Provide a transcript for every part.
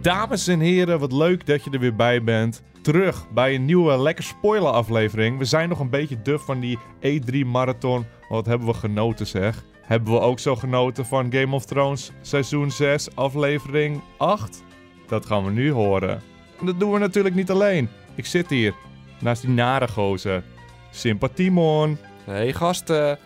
Dames en heren, wat leuk dat je er weer bij bent. Terug bij een nieuwe lekker spoiler aflevering. We zijn nog een beetje duf van die E3 marathon. Wat hebben we genoten zeg. Hebben we ook zo genoten van Game of Thrones seizoen 6 aflevering 8? Dat gaan we nu horen. En dat doen we natuurlijk niet alleen. Ik zit hier naast die nare gozer. Sympathiemon. Hey gasten.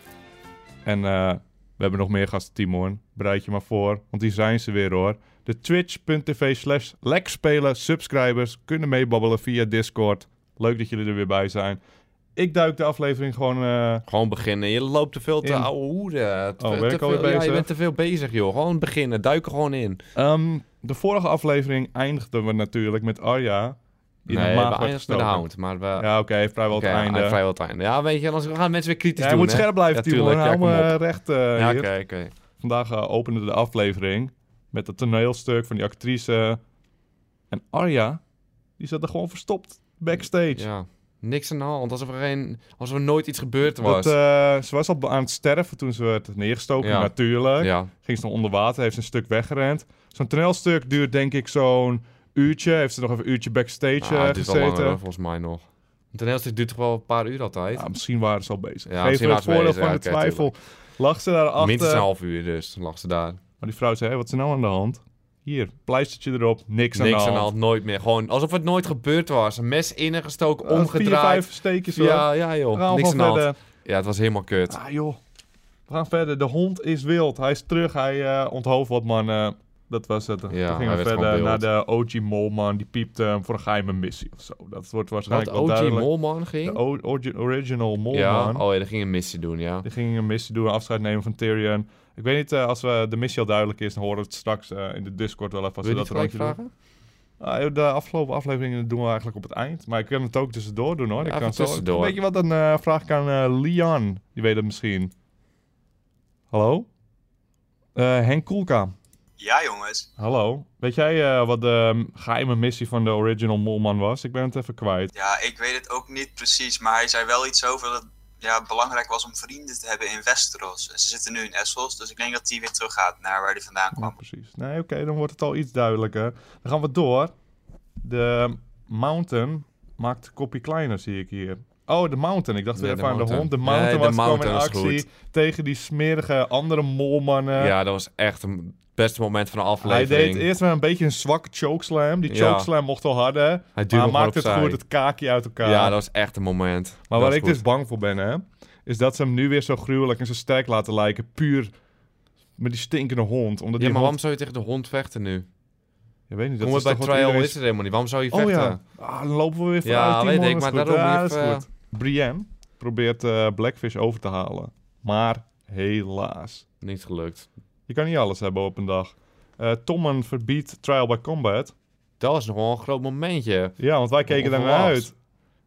En eh, we hebben nog meer gasten, Timon. Bereid je maar voor, want die zijn ze weer hoor. De twitch.tv slash lekspelen subscribers kunnen meebabbelen via Discord. Leuk dat jullie er weer bij zijn. Ik duik de aflevering gewoon... eh, Gewoon beginnen. Je loopt te veel te In. oude hoeden. Te- Oh, ben te ik alweer veel- Ja, je bezig? bent te veel bezig, joh. Gewoon beginnen. Duik er gewoon in. ehm, de vorige aflevering eindigden we natuurlijk met Arya. In nee, de we maag werd eindigen met de gestoken. hound. Maar we... Ja, oké, vrijwel oké, het einde. ja, vrijwel het einde. Ja, weet je, anders gaan mensen weer kritisch Ja, je doen, moet hè. scherp blijven, Ja, Timon. tuurlijk. Ja, Hou kom me op. recht eh, Ja, hier. oké, oké. Vandaag eh, opende de aflevering met het toneelstuk van die actrice. En Arya, die zat er gewoon verstopt backstage. Ja. Niks aan de hand. Alsof er, geen, alsof er nooit iets gebeurd was. Dat, eh, ze was al aan het sterven toen ze werd neergestoken, Ja. natuurlijk. ja. Ah, Ging ze nog onder water, heeft ze een stuk weggerend. Zo'n toneelstuk duurt denk ik zo'n uurtje. Heeft ze nog even een uurtje backstage Ah, eh, het duurt wel langer, hoor, gezeten. volgens mij nog. Het toneelstuk duurt toch wel een paar uur altijd? Ja, misschien waren ze al bezig. Ja, Geef misschien er het waren ze voordeel bezig. van Ja, de oké, twijfel. Lag ze daar achter. Minstens een half uur dus. Lag ze daar. Maar die vrouw zei, "Hé, wat is er nou aan de hand? Hier, pleistertje erop, niks, Niks aan de hand. hand. Nooit meer. Gewoon alsof het nooit gebeurd was. Een mes ingestoken, Eh, Vier, omgedraaid. vijf steekjes hoor. Ja, ja We joh. gaan Niks aan gewoon de hand. verder. Ja, het was helemaal kut. Ah joh. We gaan verder. De hond is wild. Hij is terug. Hij eh, onthoofd wat mannen. Dat was het. hij Toen gingen werd we gewoon verder naar wild. de OG Molman. Die piepte hem voor een geheime missie of zo. Dat wordt Wat waarschijnlijk wel OG duidelijk. Molman ging? de O- orgi- original Molman. ja, oh ja, die ging een missie doen, ja. Die ging een missie doen, afscheid nemen van Tyrion. Ik weet niet, eh, als we de missie al duidelijk is, dan horen we het straks eh, in de Discord wel even. Als Wil je we niet dat gelijk rondje doen. vragen? Ah, de afgelopen afleveringen doen we eigenlijk op het eind. Maar ik kan het ook tussendoor doen hoor. ik Ja, kan even zo... tussendoor. Weet je wat, dan eh, vraag ik aan eh, Lian. Die weet het misschien. Hallo? Eh, Henk Koelka. Ja, jongens. Hallo. Weet jij eh, wat de mm, geheime missie van de original Molman was? Ik ben het even kwijt. Ja, ik weet het ook niet precies, maar hij zei wel iets over dat het ja, belangrijk was om vrienden te hebben in Westeros. En ze zitten nu in Essos, dus ik denk dat die weer terug gaat naar waar hij vandaan Ja, kwam. precies. Nee, oké, dan wordt het al iets duidelijker. Dan gaan we door. De Mountain maakt een kopje kleiner, zie ik hier. Oh, de Mountain. Ik dacht Nee, weer de even aan de Mountain. hond. De Nee, Mountain de was Mountain is kwam in actie tegen die smerige andere molmannen. Ja, dat was echt een het beste moment van de Hij aflevering. deed eerst wel een beetje een zwakke chokeslam. Die Ja. chokeslam mocht wel harder. Hij Maar duwde hij hem gewoon maakt het opzij. goed, het kaakje uit elkaar. Ja, dat was echt een moment. maar Dat waar was ik goed. dus bang voor ben, hè, is dat ze hem nu weer zo gruwelijk en zo sterk laten lijken. Puur met die stinkende hond. Omdat die Ja, maar hond... waarom zou je tegen de hond vechten nu? Ik weet niet, dat Kom maar is bij toch wat Trial iedereen is het helemaal niet. Waarom zou je Oh vechten? ja. Ah, dan lopen we weer Ja, vooruit. Timon, weet ik, dat is maar goed. daarom eh. Ja, dat is even- goed. Brienne probeert eh, Blackfish over te halen. Maar helaas. Niks gelukt. Je kan niet alles hebben op een dag. Eh Tommen verbiedt Trial by Combat. Dat was nog wel een groot momentje. Ja, want wij keken daarnaar Onverwacht. uit.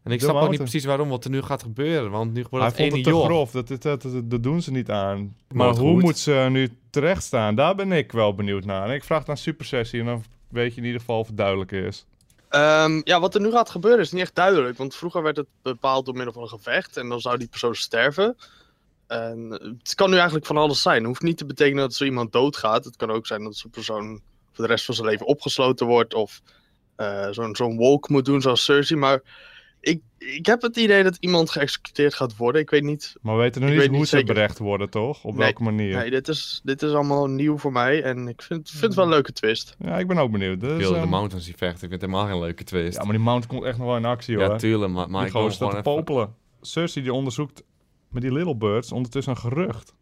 En ik De snap ook mountain. niet precies waarom wat er nu gaat gebeuren. Want nu wordt Hij het vond ene het te joh. grof. Dat, dat, dat, dat- dat doen ze niet aan. Maar Maar het hoe goed. moet ze nu terecht staan? Daar ben ik wel benieuwd naar. En ik vraag het aan Super Sessie en dan weet je in ieder geval of het duidelijk is. Ehm, ja, wat er nu gaat gebeuren is niet echt duidelijk. Want vroeger werd het bepaald door middel van een gevecht. En dan zou die persoon sterven. En eh, het kan nu eigenlijk van alles zijn. Het hoeft niet te betekenen dat zo iemand doodgaat. Het kan ook zijn dat zo'n persoon voor de rest van zijn leven opgesloten wordt. Of eh, zo'n zo'n walk moet doen zoals Cersei. Maar ik, ik heb het idee dat iemand geëxecuteerd gaat worden. Ik weet niet. Maar we weten nog Ik niet weet hoe niet ze zeker. berecht worden, toch? Op Nee, welke manier? Nee, dit is, dit is allemaal nieuw voor mij. En ik vind, vind het wel een Mhm. leuke twist. Ja, ik ben ook benieuwd. Dus, Ik wilde de ehm, mountains die vechten. Ik vind het helemaal geen leuke twist. Ja, maar die mount komt echt nog wel in actie, hoor. Ja, tuurlijk. Maar, maar die ik wil gozer staat gewoon te even... popelen. Cersei die onderzoekt met die Little Birds ondertussen een gerucht.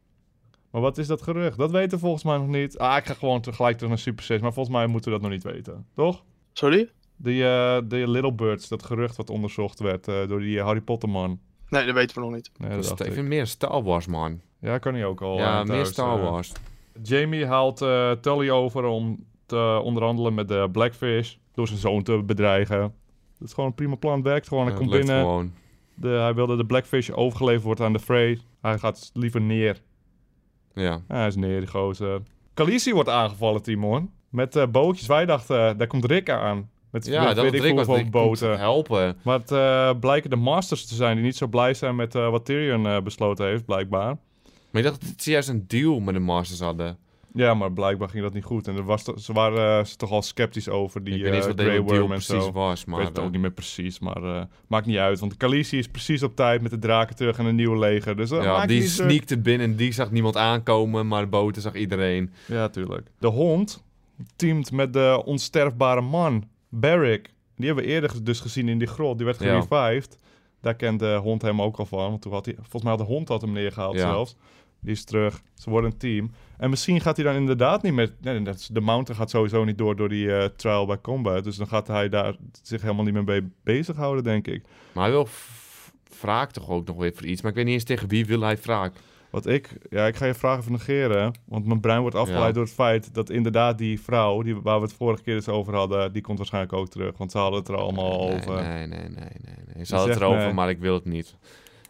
Maar wat is dat gerucht? Dat weten we volgens mij nog niet. Ah, ik ga gewoon tegelijk terug naar Super 6, maar volgens mij moeten we dat nog niet weten. Toch? Sorry? Die, eh, die Little Birds, dat gerucht wat onderzocht werd eh, door die Harry Potter man. Nee, dat weten we nog niet. Nee, dat Dus dacht ik ik. vind meer Star Wars, man. Ja, kan hij ook al. eh, ja, meer thuis, Star eh. Wars. Jamie haalt eh, Tully over om te onderhandelen met de Blackfish. Door zijn zoon te bedreigen. Dat is gewoon een prima plan. Werkt gewoon. Hij Ja, komt het lukt binnen. gewoon. De, hij wilde de Blackfish overgeleverd wordt aan de Frey. Hij gaat liever neer. Ja. Ja, hij is neer, die gozer. Khaleesi wordt aangevallen, Timon. Met eh, bootjes. Wij dachten, eh, daar komt Rick aan. Met Ja, met dat weet ik ik wat hoeveel ik boten. moet helpen. Maar het eh, blijken de Masters te zijn die niet zo blij zijn met eh, wat Tyrion eh, besloten heeft, blijkbaar. Maar ik dacht dat het juist een deal met de Masters hadden. Ja, maar blijkbaar ging dat niet goed. En er was, to- ze waren eh, ze toch al sceptisch over die ik weet niet eens eh, wat Grey de deal Worm en precies zo. was, Ik maar... weet het eh, ook niet meer precies, maar eh, maakt niet uit. Want Khaleesi is precies op tijd met de draken terug en een nieuw leger. Dus dat ja, maakt die niet druk. sneakte binnen en die zag niemand aankomen, maar de boten zag iedereen. Ja, tuurlijk. De hond teamt met de onsterfbare man, Barrick. Die hebben we eerder dus gezien in die grot. Die werd Ja. gerevived. Daar kent de hond hem ook al van. Want toen had hij, volgens mij had de hond had hem neergehaald Ja. zelfs. Die is terug. Ze worden een team. En misschien gaat hij dan inderdaad niet met... Nee, dat is- de mountain gaat sowieso niet door door die eh, trial by combat. Dus dan gaat hij daar zich helemaal niet meer mee bezighouden, denk ik. Maar hij wil v- wraak toch ook nog weer voor iets. Maar ik weet niet eens tegen wie wil hij wraak. Wat ik... Ja, ik ga je vraag even negeren. Want mijn brein wordt afgeleid Ja. door het feit dat inderdaad die vrouw... Die, waar we het vorige keer eens over hadden... die komt waarschijnlijk ook terug. Want ze hadden het er allemaal nee, over. Nee, nee, nee, nee. nee. Ze had het zegt erover, nee. maar ik wil het niet.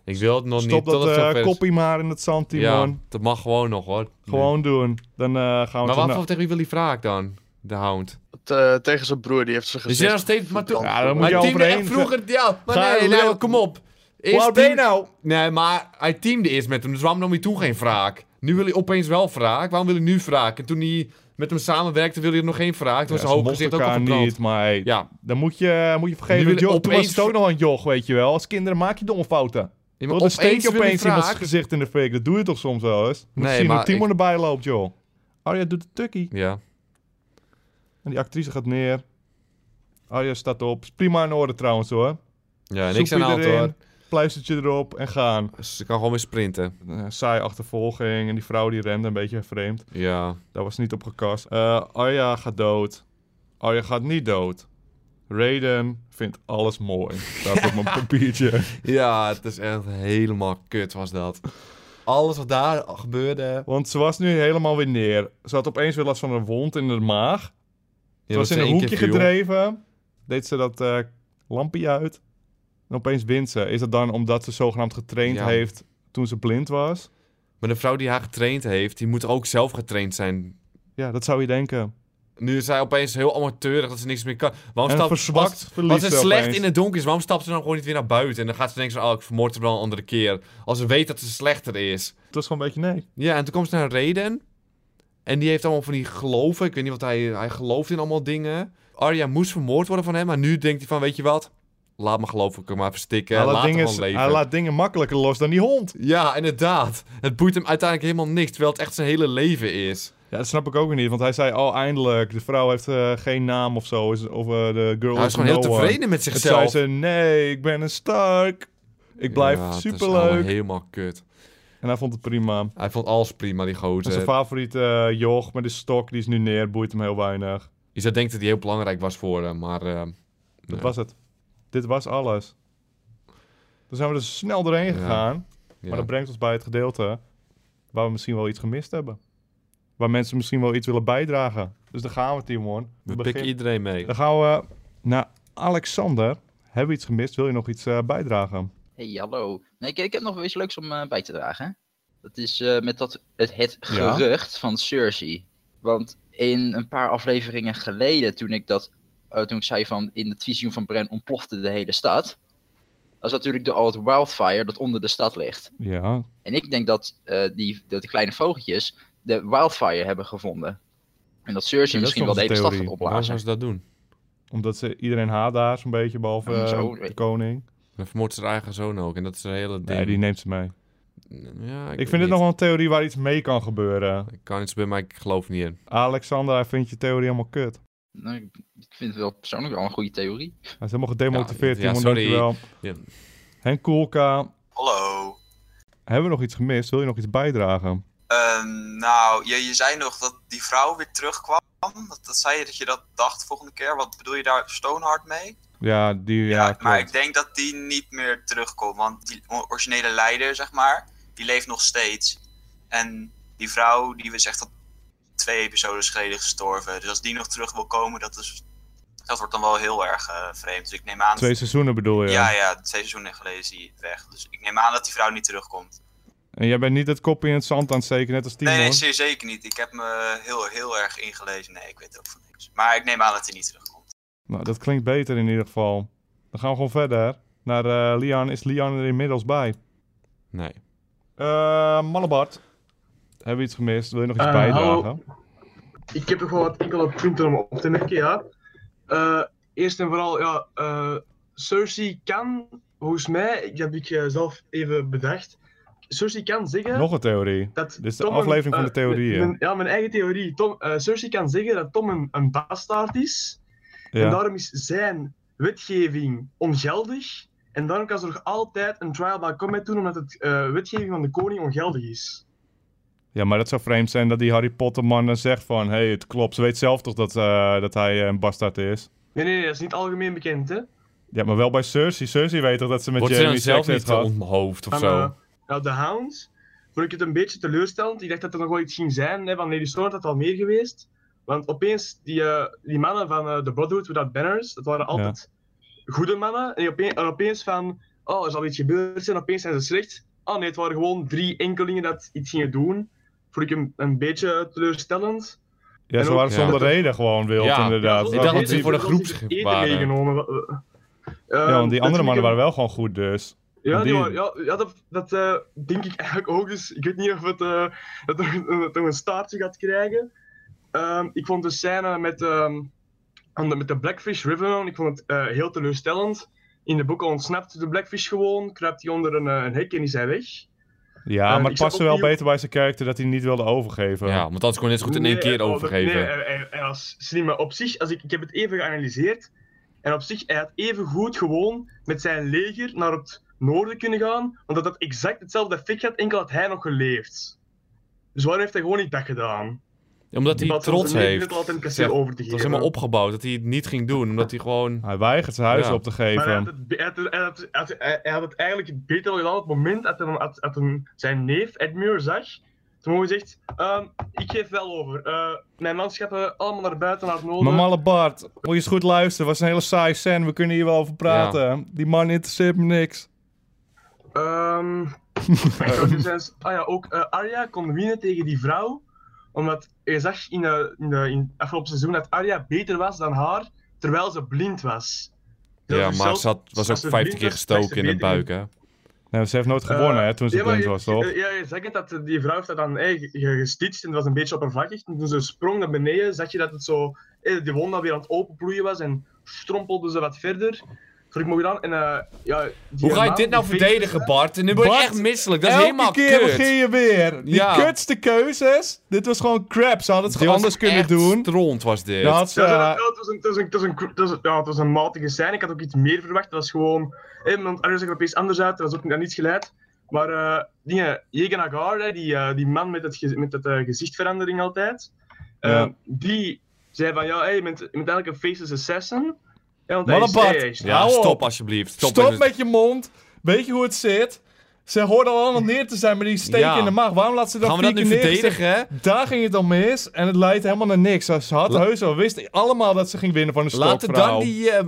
Ik wil het nog Stop niet. tot dat het eh, zover is. koppie maar in het zand, Timon. Ja, dat mag gewoon nog hoor. Gewoon doen. Dan eh, gaan we... Maar terug wat naar- voor tegen wie wil hij wraak dan? De hound. Te- eh, tegen zijn broer, die heeft zijn Dus gezicht... jij nog steeds maar toe. verbrand. Ja, dan moet Maar je hij teamde overheen. echt vroeger. Ja, maar Ga- nee, Leo- nee, kom op. Waar Eerst ben je team- nou? Nee, maar hij teamde eerst met hem, dus waarom nam hij toen geen wraak? Nu wil hij opeens wel wraak. Waarom wil hij nu wraak? En toen hij met hem samenwerkte, wilde hij nog geen wraak. Toen Ja, was ze zijn hoofd mochten gezicht ook al elkaar verbrand. niet, maar hey, Ja, dan moet je, eh, moet je vergeven. Nu dat wil- joh, toen was opeens- het ook nog een joch, weet je wel. Als kinderen maak je domme fouten. Ja, maar Want dan steek je wil hij opeens iemands wraak. gezicht in de fik. Dat doe je toch soms wel eens? Moet je Nee, zien hoe maar Timon ik- erbij loopt, joh. Arya Oh, doet de tukkie. Ja. En die actrice gaat neer. Arya staat op. Is prima in orde trouwens, hoor. Ja, niks Soepie aan de hand erin, hoor. Dus Pleistertje erop en gaan. Ze kan gewoon weer sprinten. Eh, saai achtervolging. En die vrouw die rende een beetje vreemd. Ja. Daar was niet op gekast. Eh, Arya gaat dood. Arya gaat niet dood. Raiden vindt alles mooi. Staat op mijn papiertje. Ja, het is echt helemaal kut was dat. Alles wat daar gebeurde... Want ze was nu helemaal weer neer. Ze had opeens weer last van een wond in de maag. Ja, ze dat was ze in een één keer hoekje viel. gedreven. Deed ze dat eh, lampje uit. En opeens wint ze. Is dat dan omdat ze zogenaamd getraind Ja. heeft toen ze blind was? Maar de vrouw die haar getraind heeft, die moet ook zelf getraind zijn. Ja, dat zou je denken. Nu is zij opeens heel amateurig dat ze niks meer kan. Waarom en stapt- verzwakt als- verlies Als het slecht opeens. in het donker is, waarom stapt ze dan gewoon niet weer naar buiten? En dan gaat ze denken van, oh, ik vermoord hem wel een andere keer. Als ze weet dat ze slechter is. Het was gewoon een beetje nee. Ja, en toen kwam ze naar Raiden. En die heeft allemaal van die geloven. Ik weet niet wat hij... Hij gelooft in allemaal dingen. Arya moest vermoord worden van hem. Maar nu denkt hij van, weet je wat? Laat me geloven, ik kan maar verstikken. Hij laat laat, hem dingen, gewoon leven. hij laat dingen makkelijker los dan die hond. Ja, inderdaad. Het boeit hem uiteindelijk helemaal niks. Terwijl het echt zijn hele leven is. Ja, dat snap ik ook weer niet. Want hij zei, oh, eindelijk, de vrouw heeft eh, geen naam of zo. Is, of eh, de girl Hij is is gewoon heel no one. tevreden met En zichzelf. zei ze, nee, ik ben een Stark. Ik blijf Ja, het is nou allemaal superleuk. helemaal kut. En hij vond het prima. En Hij vond alles prima, die zijn gozer. favoriete eh, joch met de stok, die is nu neer. Boeit hem heel weinig. Je zou denken dat hij heel belangrijk was voor hem, maar... eh, Dat Ja. was het. Dit was alles. Dan zijn we er snel doorheen Ja. gegaan. ja. Maar dat brengt ons bij het gedeelte waar we misschien wel iets gemist hebben. Waar mensen misschien wel iets willen bijdragen. Dus daar gaan we, Timon. We, We beginnen- pikken iedereen mee. Dan gaan we naar Alexander. Hebben we iets gemist? Wil je nog iets eh, bijdragen? Hey, hallo. Nee, ik, ik heb nog wel iets leuks om eh, bij te dragen. hè. Dat is eh, met dat, het, het Ja. gerucht van Cersei. Want in een paar afleveringen geleden, toen ik, dat, eh, toen ik zei van in het visioen van Bren ontplofte de hele stad. Dat is natuurlijk de old wildfire dat onder de stad ligt. Ja. En ik denk dat, eh, die, dat die kleine vogeltjes de wildfire hebben gevonden. En dat Cersei Ja, dat is misschien nog wel de een hele stad gaat theorie. Waarom opblazen. zou ze dat doen? Omdat ze, iedereen haat daar zo'n beetje, behalve Ja, eh, zo, de weet- koning. Dan vermoordt ze haar eigen zoon ook. En dat is een hele ding. Nee, die neemt ze mee. Ja, Ik, vind dit nog wel een theorie waar iets mee kan gebeuren. Ik kan iets bij, maar ik geloof niet in. Alexander, hij vindt je theorie helemaal kut. Nou, ik- ik vind het wel persoonlijk wel een goede theorie. Hij is helemaal gedemotiveerd, Ja, ja, ja, Timon, sorry. dankjewel. Ja. Henk Koelka, Hallo. hebben we nog iets gemist? Wil je nog iets bijdragen? Ehm, nou, je, je zei nog dat die vrouw weer terugkwam. Dat, dat zei je dat je dat dacht volgende keer. Wat bedoel je daar Stonehard mee? Ja, die, ja, klopt. maar ik denk dat die niet meer terugkomt. Want die o- originele leider, zeg maar, die leeft nog steeds. En die vrouw, die was echt al twee episodes geleden gestorven. Dus als die nog terug wil komen, dat, is, dat wordt dan wel heel erg eh, vreemd. Dus ik neem aan... Twee seizoenen bedoel je? ja, ja, twee seizoenen geleden is die weg. Dus ik neem aan dat die vrouw niet terugkomt. En jij bent niet het kopje in het zand aan het steken, net als Timon? Nee, nee, zeer zeker niet. Ik heb me heel, heel erg ingelezen. Nee, ik weet ook van niks. Maar ik neem aan dat hij niet terugkomt. Nou, dat klinkt beter in ieder geval. Dan gaan we gewoon verder naar eh, Lian. Is Lian er inmiddels bij? Nee. Eh Mallebart. Hebben we iets gemist? Wil je nog iets Eh, bijdragen? hallo. Ik heb toch wel wat enkele punten om op te merken, ja. Eh, eerst en vooral, ja, eh, Cersei kan, volgens mij, dat heb ik eh, zelf even bedacht, Cersei kan zeggen Nog een theorie. dat dit is de Tom een- aflevering van eh, de theorieën. mijn- ja, mijn eigen theorie. Tom, eh, Cersei kan zeggen dat Tom een, een bastaard is, en Ja. daarom is zijn wetgeving ongeldig, en daarom kan ze nog altijd een trial by combat doen, omdat het eh, wetgeving van de koning ongeldig is. ja, maar dat zou vreemd zijn dat die Harry Potter man dan zegt van... Hé, hey, het klopt. Ze weet zelf toch dat, eh, dat hij eh, een bastard is? Nee, nee, nee, dat is niet algemeen bekend, hè. Ja, maar wel bij Cersei. Cersei weet toch dat ze met Wordt ze Jamie dan zelf seks niet heeft zo gehad? Ah, onthoofd of Van, zo? eh, nou, de Hound vond ik het een beetje teleurstellend. Ik dacht dat er nog wel iets ging zijn. Hè, van Lady Storm had dat al meer geweest. Want opeens, die, eh, die mannen van eh, de Brotherhood Without Banners, dat waren altijd goede mannen. En, die opeen- en opeens van, oh, er zal iets gebeurd zijn. Opeens zijn ze slecht. Oh nee, het waren gewoon drie enkelingen dat iets gingen doen. Vond ik een, een beetje teleurstellend. Ja, En ze ook- waren Ja. zonder reden gewoon wild, Ja. inderdaad. Ja, Ik dacht dat ze die... voor de die- groepsgroep Eten waren. meegenomen. Eh, Ja, want die andere mannen waren wel gewoon goed, dus. Ja, Die- die waren- ja, ja dat, dat eh, denk ik eigenlijk ook. Dus ik weet niet of het eh, dat er, een- dat er een staartje gaat krijgen. Ehm, ik vond de scène met, ehm, van de, met de Blackfish River, ik vond het eh, heel teleurstellend. In de boeken ontsnapt de Blackfish gewoon, kruipt hij onder een, eh, een hek en is hij weg. Ja, Eh, maar ik het zag paste ook wel die- beter bij zijn karakter dat hij niet wilde overgeven. Ja, want anders kon je net zo goed in één Nee, keer oh, dat- overgeven. Nee, hij, hij- hij was slim. Maar op zich, als ik, ik heb het even geanalyseerd. En op zich, hij had even goed gewoon met zijn leger naar het noorden kunnen gaan. Want dat had exact hetzelfde effect had, enkel had hij nog geleefd. Dus waarom heeft hij gewoon niet dat gedaan? Ja, omdat hij plaats van trots zijn leger heeft. het altijd een Zeg, kasteel over te Het was geven. helemaal opgebouwd dat hij het niet ging doen. Omdat hij gewoon. Hij weigert zijn huis Ja. op te Maar geven. hij had, het, be- hij, had, het- hij had- hij had- hij- hij had het eigenlijk beter al gedaan op het moment dat hij, dan- dat- dat hem zijn neef Edmure zag. Toen hij zegt, ehm, ik geef wel over. Eh, mijn manschappen allemaal naar buiten, naar het noorden. Maar malle Bart, moet je eens goed luisteren. was een hele saai scène. We kunnen hier wel over praten. Die man interesseert me niks. Ehm. ik zou nu zeggen, ah ja, ook eh Arya kon winnen tegen die vrouw. Omdat je zag in, de, in, de, in het afgelopen seizoen dat Arya beter was dan haar, terwijl ze blind was. Dus Ja, dus maar zelfs ze had- was als ook ze 50 keer blind was, gestoken in was de ze buik, beter hè? Nee, ze heeft nooit Eh, gewonnen, hè, toen ze ja, maar blind je- was, toch? Ja, je zegt het, dat eh, die vrouw heeft dat dan hey, ge- ge- gestitcht en dat was een beetje oppervlakkig. En toen ze sprong naar beneden, zag je dat het zo, eh, die wond dan weer aan het openbloeien was en strompelde ze wat verder. Voor ik mocht dan, en, eh, ja, die Hoe ga je man- dit nou die verdedigen, Bart? En nu word je Bart, echt misselijk. Dat is Elke helemaal keer kut. begin je weer. Die Ja. kutste keuzes. Dit was gewoon crap. Ze hadden het Dit gewoon was anders kunnen echt doen. Stront was dit. Dan had ze, Ja, eh, ja, het, was een, het, was een, het, was een, het, was, ja, het was een matige scène. Ik had ook iets meer verwacht. Het was gewoon. Hè, want Arjen zag er opeens anders uit. Dat was ook naar niets geleid. Maar eh dingen, Jegen Agar, hè, die, eh, die man met, het, ge- met dat eh, gezichtverandering altijd. eh, Ja. Die zei van ja, hey, je, bent, je bent eigenlijk een faceless assassin. Ja, want hij Malle is, Bart, hij is- Ja, Hou stop op. alsjeblieft. Stop, stop, met je mond. Weet je hoe het zit? Ze hoorden al allemaal neer te zijn met die steek Ja. in de maag. Waarom laat ze dat Gaan we dat vier nu keer neergezet? verdedigen, hè? Daar ging het al mis en het leidt helemaal naar niks. Ze had La- heus al wist allemaal dat ze ging winnen van een Laten stokvrouw. dan die eh,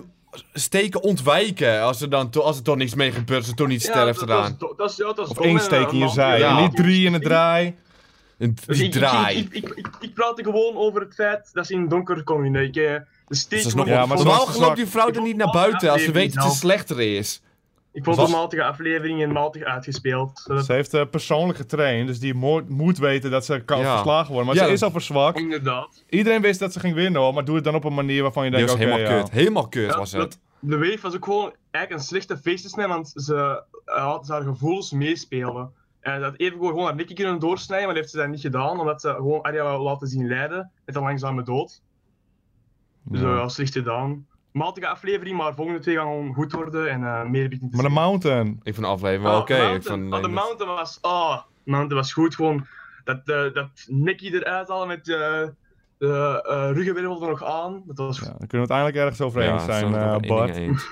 steken ontwijken. Als er, dan to- als er toch niks mee gebeurt, als ze toch niet Ja, sterft dat- eraan. Dat, dat, is- ja, dat is Of dom, één hè, steek in je man. zij. Ja. En niet drie in het draai. Een Dus die ik- draai. Ik, ik, ik, ik, ik praatte gewoon over het feit dat ze in het donker komen. Ik, eh, de Dus steek dat is wordt nog Ja, maar het ontvonden. was Normaal te loopt zwak. die vrouw er niet naar buiten als ze weet dat ze nou. slechter is. Ik vond Was- de matige aflevering en matig uitgespeeld. zodat- Ze heeft eh, persoonlijk getraind, dus die mo- moet weten dat ze kan Ja. verslagen worden. Maar Ja, ze is dat- al verzwakt. Inderdaad. Iedereen wist dat ze ging winnen hoor, maar doe het dan op een manier waarvan je Die denkt, was oké helemaal ja. kut. Helemaal kut was dat- het. De Wave was ook gewoon eigenlijk een slechte feestensnij, want ze eh, had ze haar gevoelens meespelen. En dat even gewoon haar nikken kunnen doorsnijden, maar dat heeft ze dat niet gedaan, omdat ze gewoon Arya wou laten zien lijden met een langzame dood. Dus Ja. dat was slecht gedaan. Matige aflevering, maar de volgende twee gaan gewoon goed worden en eh, meer heb ik niet te Maar de zeggen. mountain. Ik vond de aflevering Oh, wel oké. Ik Mountain. vond- Oh, de Mountain was... Oh, Mountain was goed. Gewoon dat, eh dat Nicky eruit halen met eh de eh ruggenwervel er nog aan. Dat was Ja, dan kunnen we het eindelijk ergens over Ja, eens zijn, daar ben ik eh, het wel één Bart. ding eens.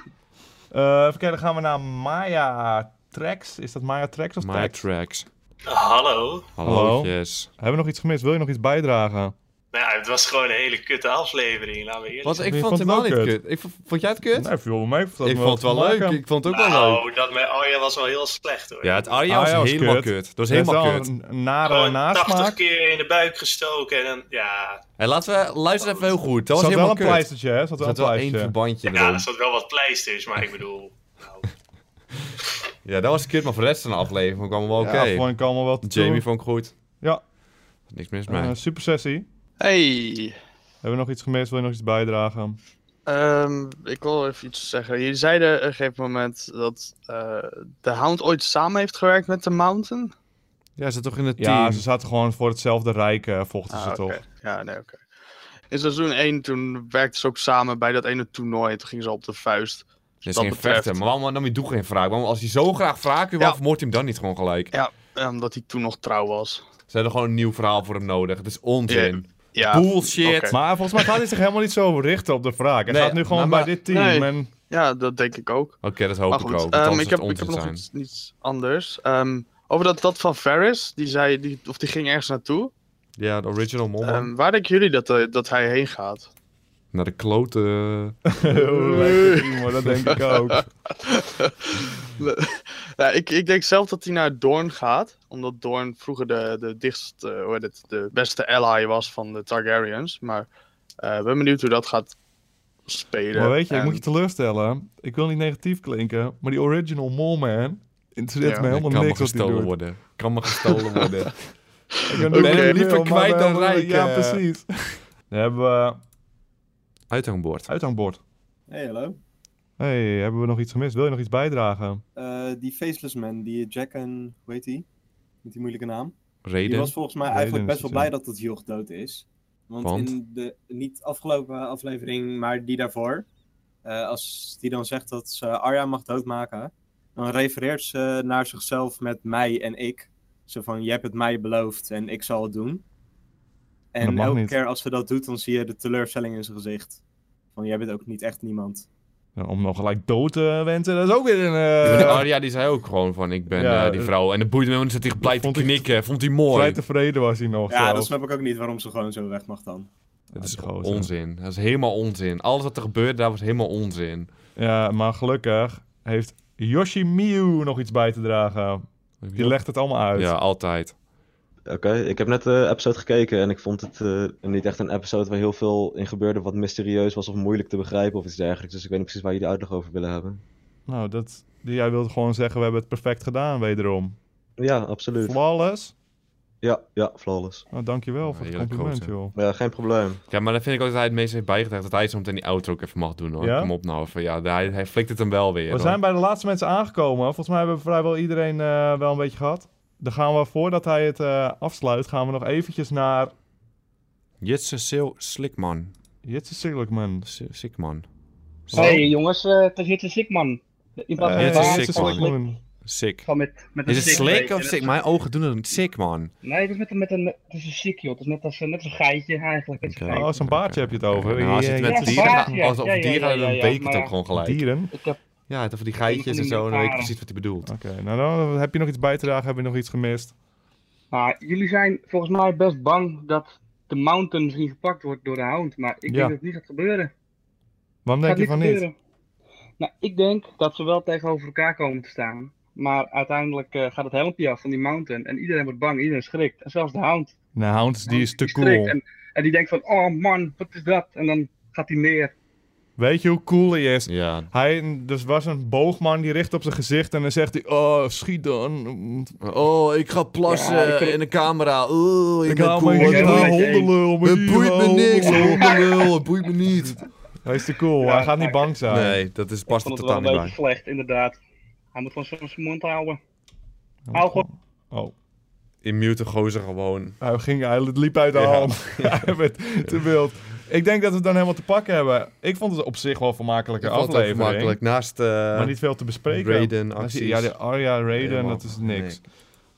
Eh, even kijken, dan gaan we naar Maya Tracks. Is dat Maya Tracks of My Tracks? tracks. Hallo. Hallo. Hallo. Yes. Hebben we nog iets gemist? Wil je nog iets bijdragen? Nou ja, het was gewoon een hele kutte aflevering, laten we eerlijk Wat, zijn. ik Je vond vond het het helemaal wel kut. niet kut. Ik vond- Vond jij het kut? Nee, viel wel mee. dat Ik we vond het wel te maken leuk. hebben. Ik vond het ook wel leuk. Nou, dat met Arya was wel heel slecht hoor. Ja, het Arya was Ah, ja, was helemaal kut. kut. Dat was Het is helemaal wel kut. een nare Oh, Gewoon 80 nasmaak. keer in de buik gestoken en dan, ja, En laten we luisteren even heel goed. Dat Er was zat wel helemaal een kut. Er pleistertje, hè? Er Zat wel een zat wel één pleistertje. verbandje ja, erin. er zat wel wat pleisters, maar ik bedoel... nou, Ja, dat was kut, maar voor de rest van de aflevering vond ik allemaal wel oké. Ja, vond ik allemaal wel te Jamie doen. vond ik goed. Ja. Niks mis mee. Eh, super sessie. Hey. Hebben we nog iets gemist? Wil je nog iets bijdragen? Ehm, ik wil even iets zeggen. Jullie zeiden op een gegeven moment dat eh, de Hound ooit samen heeft gewerkt met de Mountain. Ja, zit toch in het Ja, team? ze zaten gewoon voor hetzelfde rijk, eh, vochten ze Ah, toch? oké. Ja, nee, oké. In seizoen 1 toen werkten ze ook samen bij dat ene toernooi. Toen gingen ze op de vuist. Dus Dit is dat geen betreft. vechter. Maar waarom nam je doe geen vraag? Waarom, als hij zo graag vraagt, waarom Ja. vermoordt hij hem dan niet gewoon gelijk? Eh, Omdat hij toen nog trouw was. Ze hebben gewoon een nieuw verhaal voor hem nodig. Het is onzin. Ja. Bullshit. Oké. Maar volgens mij gaat hij zich helemaal niet zo richten op de vraag. Hij Nee, gaat nu gewoon maar- bij maar- dit team. nee. En ja, dat denk ik ook. Oké, dat hoop Maar ik ook. goed, want ehm, anders ik zou heb, het ik heb onzin nog zijn. iets, iets anders. Ehm, over dat, dat van Ferris, die zei, die, of die ging ergens naartoe. Ja, de original mom. Ehm, waar denken jullie dat, eh, dat hij heen gaat? Naar de klote. Heel lekker team, hoor, dat denk ik ook. Ja, ik, ik denk zelf dat hij naar Doorn gaat, omdat Doorn vroeger de, de, dichtst, eh, hoe heet het, de beste ally was van de Targaryens. Maar eh ben benieuwd hoe dat gaat spelen. Maar weet je, ik En- moet je teleurstellen. Ik wil niet negatief klinken, maar die original mole man... Interesseert Ja. me Ik helemaal kan me niks wat hij gestolen doet. worden. Kan me gestolen worden. Ik ben Oké, nu liever miljoen, maar kwijt dan wel- rijk, Ja, eh. precies. Dan hebben we Uithangbord. uithangbord. Hey, hallo. hey, hebben we nog iets gemist? Wil je nog iets bijdragen? Eh, die Faceless Man, die Jack en, hoe heet die? Met die moeilijke naam. Die Reden. was volgens mij Raiden eigenlijk best is wel het, ja. blij dat het Joch dood is. Want, Want? in de niet afgelopen aflevering, maar die daarvoor, eh, als die dan zegt dat ze Arya mag doodmaken, dan refereert ze naar zichzelf met mij en ik. Zo van, je hebt het mij beloofd en ik zal het doen. Dat En mag elke niet. keer als ze dat doet, dan zie je de teleurstelling in zijn gezicht. Van, jij bent ook niet echt niemand. Ja, om nog gelijk dood te wensen, dat is ook weer een... eh, Maar die Arya die zei ook gewoon van, ik ben Ja, eh, die eh, vrouw. En de boeide me niet dat hij blijft te vond ik- knikken. Vond hij Vrij mooi. tevreden was hij nog. Ja, zo. dat snap ik ook niet waarom ze gewoon zo weg mag dan. Dat Ja, is die gewoon gozer. onzin. Dat is helemaal onzin. Alles wat er gebeurde, daar was helemaal onzin. Ja, maar gelukkig heeft Yoshimiu nog iets bij te dragen. Die legt het allemaal uit. Ja, altijd. Oké, ik heb net de episode gekeken en ik vond het eh, niet echt een episode waar heel veel in gebeurde wat mysterieus was of moeilijk te begrijpen of iets dergelijks. Dus ik weet niet precies waar jullie uitleg over willen hebben. Nou, dat, jij wilde gewoon zeggen, we hebben het perfect gedaan, wederom. Ja, absoluut. Flawless. Ja, ja, flawless. Nou, dankjewel Ja, voor het heerlijk compliment, gozer. joh. Ja, geen probleem. Ja, maar dat vind ik ook dat hij het meest heeft bijgedragen. Dat hij zo meteen die outro ook even mag doen hoor. Ja? Kom op nou. even. ja, hij, hij flikt het hem wel weer. We hoor. zijn bij de laatste mensen aangekomen. Volgens mij hebben we vrijwel iedereen eh, wel een beetje gehad. Dan gaan we, voordat hij het eh, afsluit, gaan we nog eventjes naar... Jitse Sil Slikman. Jitse Siglikman. S- Sikman. Oh. Hey jongens, eh, het is Jitse Slikman. In plaats Eh, van Jitse waar, Jitse Sikman. gewoon slik- Siglikman. Sick. gewoon met, met een Is het slik of En sick? dat- Mijn ogen doen het sick, man. Nee, het is met een, met een, het is een sik joh. Het is net als, eh, net als een geitje eigenlijk. Het is een Oké. Oh, geit. zo'n baardje heb je het over. Nou, als je het Ja, ja, met ja, dieren ja, gaat, ja, als het ja, over dieren ja, gaat, dan ja, weet ik maar het ja. ook gewoon gelijk. Dieren. Ik heb, Ja, het over die geitjes en zo, dan weet ik precies wat hij bedoelt. Oké, nou dan heb je nog iets bij te dragen, heb je nog iets gemist? maar jullie zijn volgens mij best bang dat de mountain misschien gepakt wordt door de hound. Maar ik Ja. denk dat het niet gaat gebeuren. Waarom denk je Gaat van niet? gebeuren. Nou, ik denk dat ze wel tegenover elkaar komen te staan. Maar uiteindelijk eh, gaat het helmpje af van die mountain. En iedereen wordt bang, iedereen schrikt. En zelfs de hound. Nou, Hound, die is te schrikt cool. En, en die denkt van, oh man, wat is dat? En dan gaat hij neer. Weet je hoe cool hij is? Ja, Hij dus was een boogman die richt op zijn gezicht en dan zegt hij: Oh, schiet dan. Oh, ik ga plassen Ja, ik vind- in de camera. Oh, ik Ik ben hou cool. me hoor. hier Ja, aan kijk, hondenlul. maar Het hier boeit me aan niks, hondenlul. hondenlul. Het boeit me niet. Hij is te cool, Ja, hij gaat niet ja. bang zijn. Nee, dat is, past Ik vond het er wel totaal een niet beetje bij. slecht, inderdaad. Hij moet gewoon zo zijn mond houden. Hou gewoon- Oh, In mute gozer gewoon. hij ging, hij liep uit de Ja. hand. hij werd te wild. Ik denk dat we het dan helemaal te pakken hebben. Ik vond het op zich wel een vermakelijke Ik vond het aflevering. even makkelijk. Naast eh Maar niet veel te bespreken. Raiden, Dan zie acties. je- Ja, de Arya Raiden, Helemaal dat is niks. niks.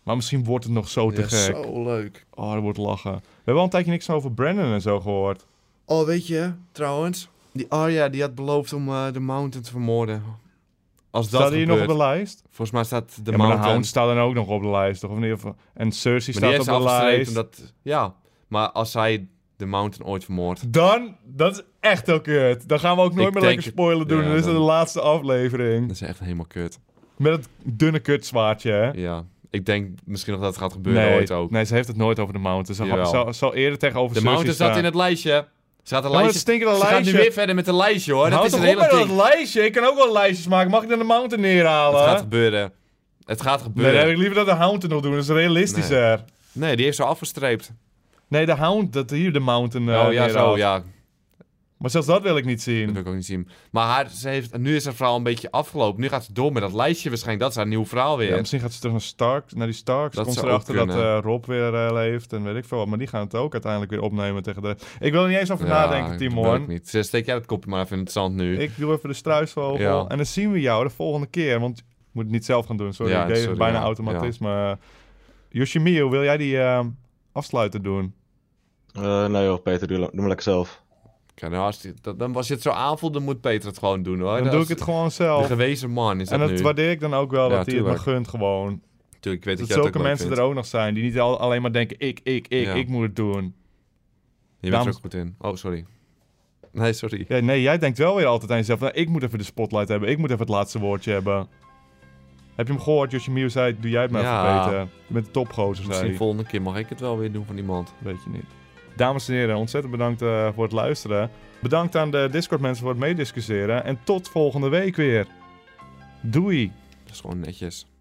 Maar misschien wordt het nog zo te Ja, gek. zo leuk. Oh, dat wordt lachen. We hebben al een tijdje niks over Brandon en zo gehoord. Oh, weet je, trouwens. Die Arya die had beloofd om eh, de Mountain te vermoorden. Als dat Staat hij hier nog op gebeurt. de lijst? Volgens mij staat de ja, maar de Mountain... Hound staat dan ook nog op de lijst, toch? Of niet? Of- En Cersei maar die staat is op de afgestreept lijst. Omdat, ja, maar als zij de Mountain ooit vermoordt... Dan, dat is echt heel kut. Dan gaan we ook nooit Ik meer denk lekker het. spoilen doen. Ja, dan is het dan- de laatste aflevering. Dat is echt helemaal kut. Met het dunne kutzwaardje, hè? Ja. Ik denk misschien nog dat het gaat gebeuren ooit ook. nee, ze heeft het nooit over de Mountain. Ze Jawel. had- zal, zal eerder tegenover De Cersei Mountain zat staan. in het lijstje. Ze had een Ja, maar dat lijstje. stinkende Ze gaan lijstje. nu weer verder met een lijstje hoor. Dat Houd is het toch op hele met dat ding. lijstje. Ik kan ook wel lijstjes maken. Mag ik dan de Mountain neerhalen? Het gaat gebeuren. Het nee, gaat dan gebeuren. heb Nee, ik liever dat de Hound het nog doen. Dat is realistischer. die heeft ze afgestreept. Nee, de Hound, dat hier de Mountain. eh, oh ja, neerhaalt. zo, ja. Maar zelfs dat wil ik niet Dat zien. wil ik ook niet zien. Maar haar, ze heeft, nu is haar verhaal een beetje afgelopen. Nu gaat ze door met dat lijstje waarschijnlijk. Dat is haar nieuw verhaal weer. Ja, misschien gaat ze terug naar, Stark, naar die Starks. Dat komt zou ze erachter ook dat kunnen. eh, Rob weer eh, leeft en weet ik veel wat. Maar die gaan het ook uiteindelijk weer opnemen tegen de... Ik wil er niet eens over Ja, nadenken, dat Timon. weet ik niet. Ze- Steek jij dat kopje maar even in het zand nu. Ik doe even de struisvogel. Ja. En dan zien we jou de volgende keer. Want ik moet het niet zelf gaan doen. Sorry, Ja, ik deed sorry, bijna ja. automatisme. Yoshimiyo, wil jij die ehm afsluiten doen? Oh, Eh, nee joh, Peter, doe, doe maar lekker zelf. Kijk, nou, als, dit- dat- dan, als je het zo aanvoelt, dan moet Peter het gewoon doen hoor. Dan Dat doe is ik het gewoon De zelf. gewezen man is En dat dat nu. waardeer ik dan ook wel, Ja, dat hij het me tuurlijk. gunt gewoon. Tuurlijk, ik Dat weet dat, jij het zulke ook leuk mensen vindt. er ook nog zijn, die niet al, alleen maar denken, ik, ik, ik, Ja. ik moet het doen. Je bent er Dames- ook goed in. Oh, sorry. Nee, sorry. Ja, nee, jij denkt wel weer altijd aan jezelf, nou, ik moet even de spotlight hebben, ik moet even het laatste woordje hebben. Heb je hem gehoord, Yoshimiyo zei, doe jij het maar Ja. even beter. Je bent de topgozer, zei Misschien hij. volgende keer mag ik het wel weer doen van iemand. Weet je niet. Dames en heren, ontzettend bedankt eh, voor het luisteren. Bedankt aan de Discord mensen voor het meediscusseren. En tot volgende week weer. Doei. Dat is gewoon netjes.